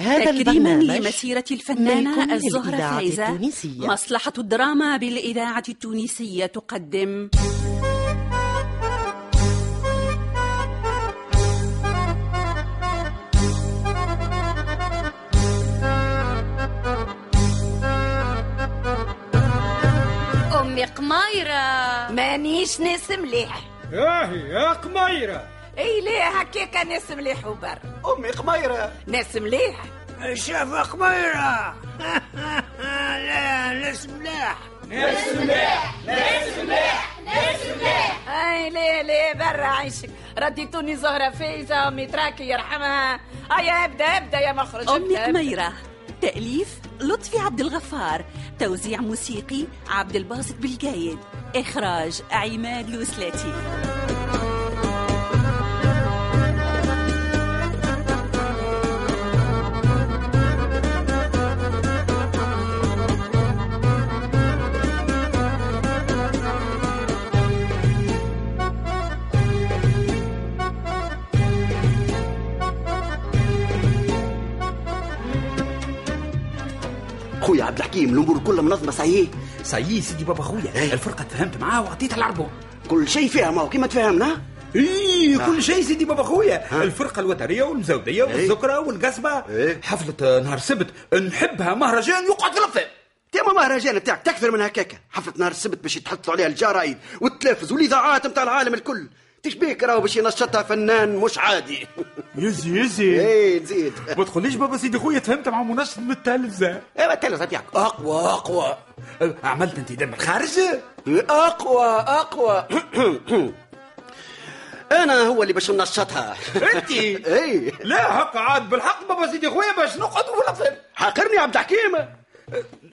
هذا تكريما البرنامج لمسيرة الفنانة ملك الزهرة للإذاعة فايزة التونسية. مصلحة الدراما بالإذاعة التونسية تقدم أمي قمايرة مانيش ناس مليح ياهي يا قميرة اي ليه هكاكا ناس مليح وبر أمي قميرة ناس مليح شاف قميرة لا ناس ملاح اي ليه ليه برا عيشك رديتوني زهرة فايزة امي تراكي يرحمها ايا ابدا ابدا يا مخرج أمي ابدأ، ابدأ. قميرة تأليف لطفي عبد الغفار توزيع موسيقي عبد الباسط بالجايد إخراج عماد لوسلاتي خويا عبد الحكيم الأمور كلها منظمة صحيح إيه. سي سيدي بابا خويا الفرقه تفهمت معاه وعطيتها العربون كل شيء فيها ما هو كيما تفاهمنا اي آه. إيه، كل شيء سيدي بابا خويا آه. الفرقه الوتريه والمزوديه والذكرى والقصبه إيه. حفله آه، نهار السبت نحبها مهرجان يقعد في الأطفال. تيما مهرجان بتاعك تكثر من هكاكا حفلة نهار السبت باش يتحطوا عليها الجرايد والتلفز والإذاعات متاع العالم الكل تشبيك راهو باش ينشطها فنان مش عادي يزي يزي ايه نزيد ما تقوليش بابا سيدي خويا تفهمت مع منشط من التلفزه ايوا تلفز بتاعك اقوى اقوى آه، عملت انتداب من الخارج أقوى أقوى أنا هو اللي باش ننشطها إيه. انت اي لا حق عاد بالحق بابا سيدي خويا باش نقعد في الأطفال. حاقرني عبد الحكيم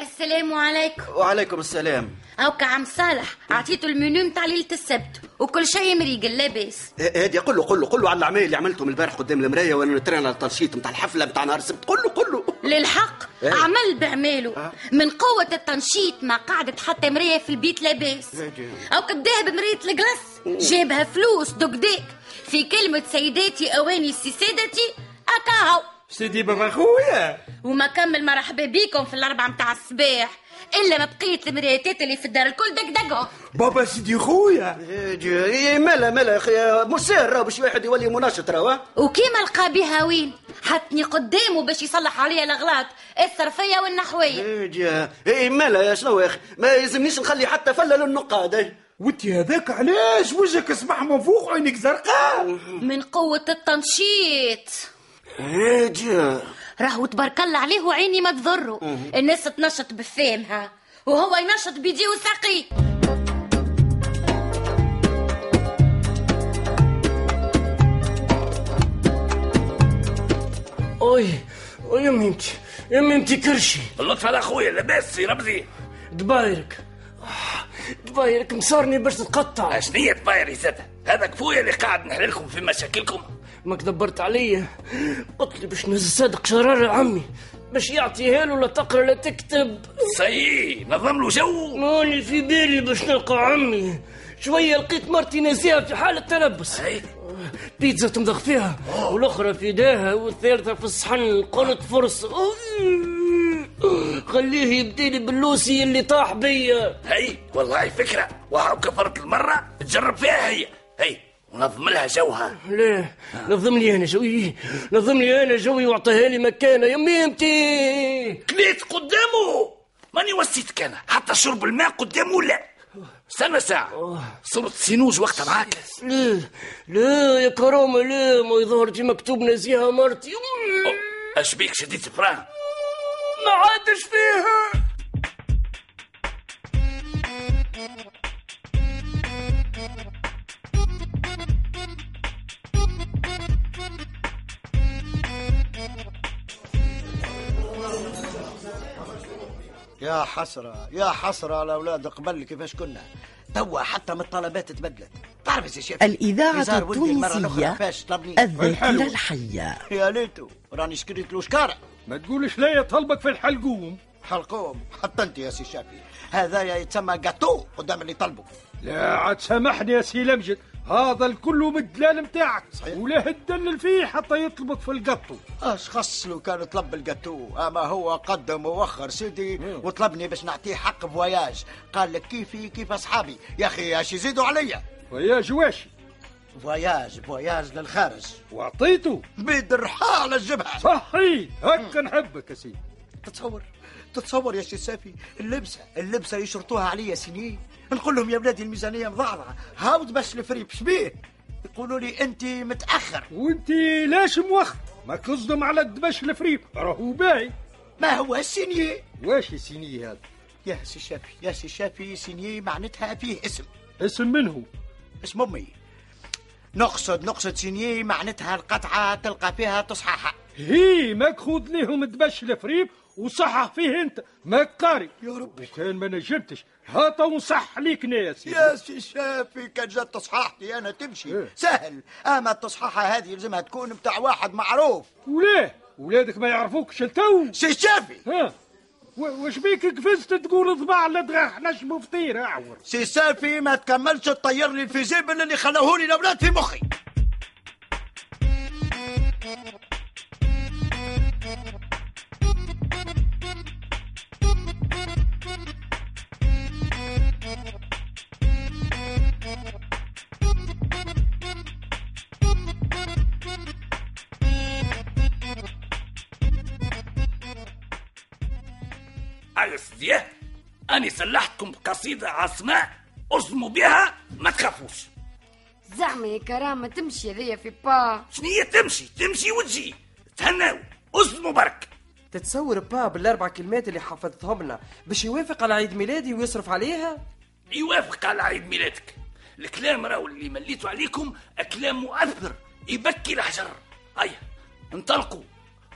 السلام عليكم وعليكم السلام هاكا عم صالح عطيته المنيو متاع ليلة السبت وكل شيء مريقل لاباس هادي قول إيه، له قول له قول له على العمل اللي عملتهم البارح قدام المرايه وانا نترين على التنشيط نتاع الحفله نتاع نهار السبت قول له قول له للحق إيه. عمل بعماله من قوة التنشيط ما قعدت حتى مراية في البيت لاباس هاكا بداها بمراية الجلس جابها فلوس دقداك في كلمة سيداتي أواني سيسادتي أكاهو سيدي بابا خويا وما كمل مرحبا بيكم في الأربعة متاع الصباح إلا ما بقيت المرايتات اللي في الدار الكل دقدقهم بابا سيدي خويا اي مالا مالا اخي مش ساهل راهو باش واحد يولي مناشط راهو وكيما لقى بيها وين حطني قدامه باش يصلح عليا الاغلاط الصرفيه والنحويه اي مالا إيه، يا شنو يا اخي ما يلزمنيش نخلي حتى فله للنقاد إيه. وانت هذاك علاش وجهك اسمح من فوق وعينك زرقاء من قوه التنشيط إيه جا. راهو تبارك الله عليه وعيني ما تضره الناس تنشط بفهمها وهو ينشط بيديه وساقيه اوي اوي امي انت امي انت كرشي اللطف على اخويا لاباس سي رمزي دبايرك آه، دبايرك مسرني باش تقطع شنية بايري زادة هذا كفويا اللي قاعد نحللكم في مشاكلكم ماك دبرت عليا قلت لي باش نهز صادق شرارة عمي باش يعطيها له لا تقرا لا تكتب سي نظم له جو ماني في بالي باش نلقى عمي شوية لقيت مرتي ناسيها في حالة تلبس هاي بيتزا تمضغ فيها والاخرى في داها والثالثه في الصحن قلت فرصه خليه يبديلي باللوسي اللي طاح بيا هاي والله فكرة وهاو كفرت المرة تجرب فيها هي هاي ونظم لها جوها ليه نظم لي انا جوي نظم لي انا جوي واعطيها لي مكانه يمي امتي كليت قدامه ماني وسيت كان حتى شرب الماء قدامه لا استنى ساعة صرت سينوج وقتها معاك لا لا يا كرامه لا ما ظهرتي مكتوب نازيها مرتي أو، اش بيك شديت فران ما عادش فيها يا حسرة يا حسرة على أولاد قبل كيفاش كنا توا حتى من الطلبات تبدلت تعرف يا سي شافي الإذاعة نزار ولدي المرة الأخرى التونسية فاش طلبني الذاكرة والحلوة. الحية يا ليتو راني شكريت له شكارة ما تقولش ليا طلبك في الحلقوم حلقوم حتى أنت يا سي شافي هذايا يتسمى جاتو قدام اللي طلبه لا عاد سامحني يا سي لمجد هذا الكل بالدلال متاعك ولا هتدلل فيه حتى يطلبك في القطو اش خص لو كان طلب الجاتو اما هو قدم ووخر سيدي وطلبني باش نعطيه حق فواياج قال لك كيفي كيف اصحابي يا اخي اش يزيدوا عليا ويا جواشي فواياج فواياج للخارج واعطيته بدرحة على الجبهه صحي هكا نحبك يا سيدي تتصور تتصور يا سي سافي اللبسه اللبسه يشرطوها عليا سنين نقول لهم يا بلادي الميزانيه مضعضعه هاود باش الفريب شبيه يقولوا لي انت متاخر وانت ليش موخر ما تصدم على الدبش الفريب راهو باي ما هو السينيي واش سيني هذا يا سي شافي يا سي شافي سينيي معناتها فيه اسم اسم منه اسم امي نقصد نقصد سينيي معناتها القطعه تلقى فيها تصححه هي ماك خود ليهم دبش الفريب وصحح فيه انت ماك قاري يا ربي. وكان ما نجمتش هاتا ونصح ليك ناس يا سي شافي كان جات تصحاحتي انا تمشي إيه. سهل اما التصحاحه هذه لازمها تكون متاع واحد معروف وليه ولادك ما يعرفوكش لتو سي شافي ها و- وش بيك قفزت تقول ضباع لدغاح نجم فطير اعور سي سافي ما تكملش تطير لي الفيزيبل اللي خلاهولي الاولاد في مخي أيا سيدي أني سلحتكم بقصيدة عصماء أصموا بها ما تخافوش زعما يا كرامة تمشي هذيا في با شنية تمشي تمشي وتجي تهناو أصموا برك تتصور با بالاربع كلمات اللي حفظتهم لنا باش يوافق على عيد ميلادي ويصرف عليها يوافق على عيد ميلادك الكلام راهو اللي مليتوا عليكم كلام مؤثر يبكي الحجر أيا انطلقوا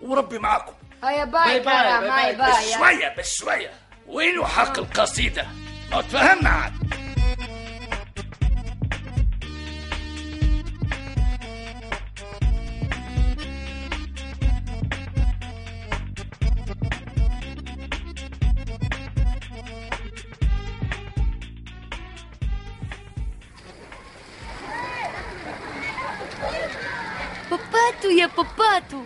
وربي معاكم هيا باي كرامة هيا باي بشوية بشوية وينو آه. حق القصيدة ما تفهمنا عاد باباتو يا باباتو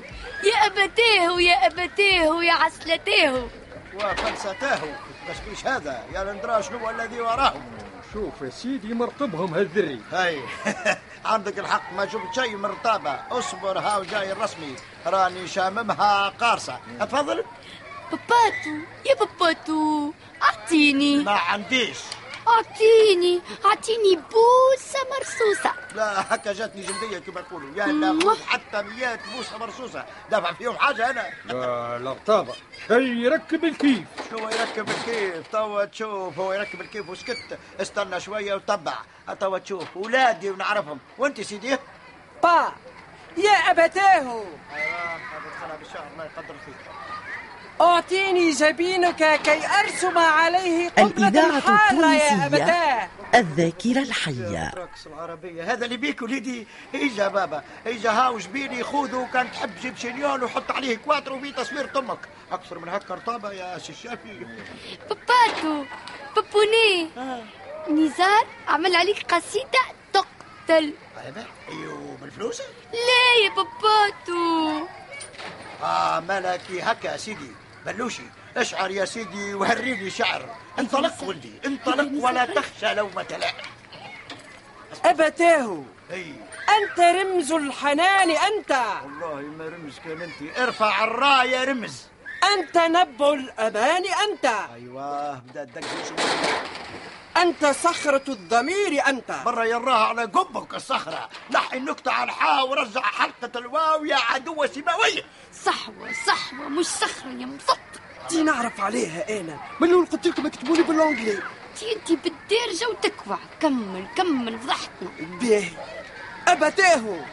يا أبتاه يا أبتاه يا عسلتاه وفلستاه بس مش هذا يا ندرا شنو الذي وراهم شوف يا سيدي مرقبهم هالذري هاي عندك الحق ما شفت شيء من الرطابه اصبر هاو جاي الرسمي راني شاممها قارصه تفضل باباتو يا باباتو أعطيني ما عنديش أعطيني أعطيني بوسة مرصوصة لا هكا جاتني جلديه كما يقولوا يا لا خذ حتى ميات بوسه مرصوصه دافع فيهم حاجه انا لا الارتابة كي يركب الكيف هو يركب الكيف توا تشوف هو يركب الكيف وسكت استنى شويه وتبع توا تشوف ولادي ونعرفهم وانت سيدي با يا أبتاه دخلها بالشهر الله يقدر فيك أعطيني جبينك كي أرسم عليه قبة الإذاعة حالة يا أبتاه التونسية الذاكرة الحية الرقص العربية هذا اللي بيك وليدي اجا بابا اجا هاو جبيني خذه وكان تحب جيب شنيون وحط عليه كواتر وفي تصوير تمك اكثر من هكا رطابة يا سي الشافي باباتو بابوني نزار عمل عليك قصيدة تقتل ايوه بالفلوس لا يا باباتو اه ملكي هكا يا سيدي بلوشي اشعر يا سيدي وهريني شعر انطلق ولدي انطلق ولا تخشى لومة لائم أبتاه اي أنت رمز الحنان أنت والله ما رمز كان انت ارفع الراية يا رمز أنت نبع الأمان أنت ايوه بدا الدق أنت صخرة الضمير أنت برا يراها على قبك الصخرة لحي النكتة على الحاء ورجع حلقة الواو يا عدوة سماوية صحوة صحوة مش صخرة يا مصطفى دي نعرف عليها أنا من الأول قلت لكم اكتبوا لي بالأنجلي تي انت بالدارجة وتكوع كمل كمل فضحتنا باهي أبتاه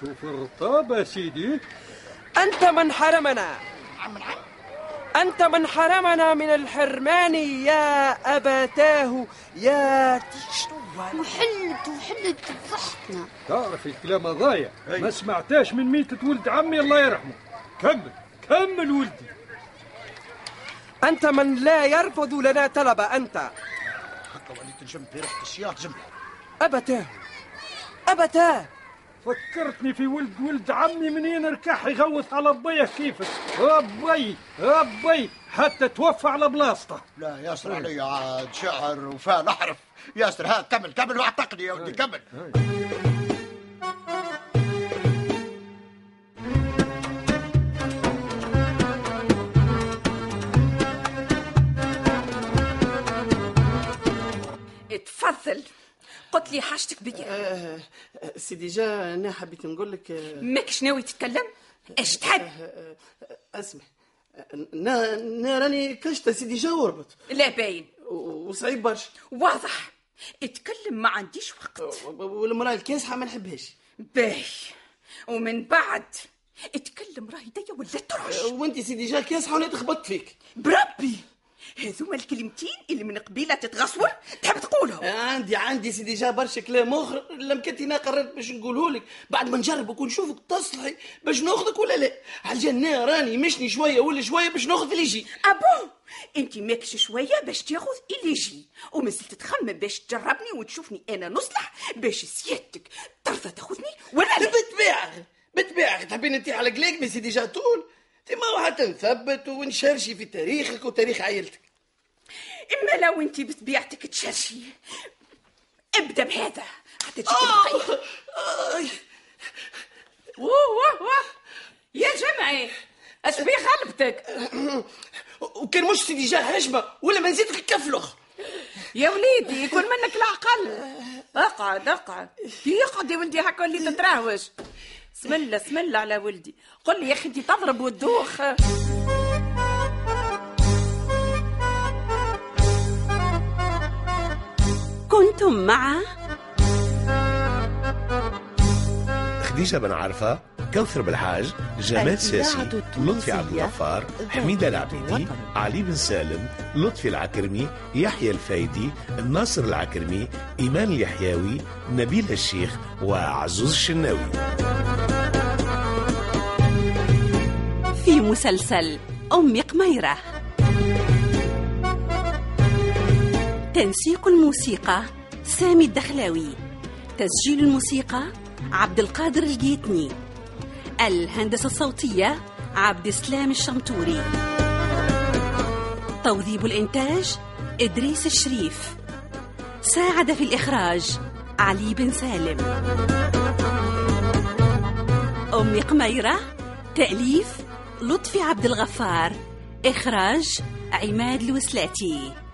شوف الرطابة يا سيدي أنت من حرمنا أنت من حرمنا من الحرمان يا أبتاه يا تشتوى وحلت وحلت فضحتنا تعرف الكلام ضايع ما سمعتاش من ميتة ولد عمي الله يرحمه كمل كمل ولدي أنت من لا يرفض لنا طلب أنت رحت نجم في ريحه الشياط جمله أبتاه أبتاه فكرتني في ولد ولد عمي منين ركح يغوث على بيه كيفك ربي ربي حتى توفى على بلاصته لا ياسر علي عاد شعر وفال احرف ياسر ها كمل كمل واعتقني يا ولدي كمل تفضل قلت لي حاجتك بيا آه، آه، سي ديجا انا حبيت نقول لك آه، ماكش ناوي تتكلم اش تحب آه، آه، اسمع آه، نا نا راني كشتة سي ديجا وربط لا باين وصعيب برشا واضح اتكلم ما عنديش وقت والمراه الكاسحه ما نحبهاش باهي ومن بعد اتكلم راهي ديا ولا ترعش وانت سي ديجا كاسحه وانا تخبطت فيك بربي هذوما الكلمتين اللي من قبيله تتغصول تحب تقولهم آه، عندي عندي سي ديجا برشا كلام اخر لم كنت انا قررت باش نقوله لك بعد ما نجربك ونشوفك تصلحي باش ناخذك ولا لا على الجنة راني مشني شويه ولا شويه باش ناخذ اللي يجي ابو Ah انت ماكش شويه باش تاخذ اللي يجي ومازلت تخمم باش تجربني وتشوفني انا نصلح باش سيادتك ترضى تاخذني ولا لا بالطبيعه بالطبيعه تحبين انت على قلاك سي ديجا طول ما حتى نثبت ونشرشي في تاريخك وتاريخ عائلتك اما لو انت بطبيعتك تشرشي ابدا بهذا حتى تجيك آه، البقية. واه واه واه يا جمعي اش بي غلبتك وكان مش سيدي جاه هجمه ولا ما نزيدك الكف الاخر يا وليدي يكون منك العقل اقعد اقعد كي يقعد يا ولدي هكا اللي تتراهوش بسم الله بسم الله على ولدي قل لي يا اخي انت تضرب وتدوخ كنتم مع خديجة بن عرفة كوثر بالحاج جمال شاشي الإذاعة التونسية لطفي عبد الغفار حميدة العبيدي علي بن سالم لطفي العكرمي يحيى الفايدي ناصر العكرمي إيمان اليحيوي نبيل الشيخ وعزوز الشناوي في مسلسل أم قميرة تنسيق الموسيقى سامي الدخلاوي تسجيل الموسيقى عبد القادر الجيتني الهندسة الصوتية عبد السلام الشمتوري توظيب الإنتاج إدريس الشريف ساعد في الإخراج علي بن سالم أم قميرة تأليف لطفي عبد الغفار إخراج عماد الوسلاتي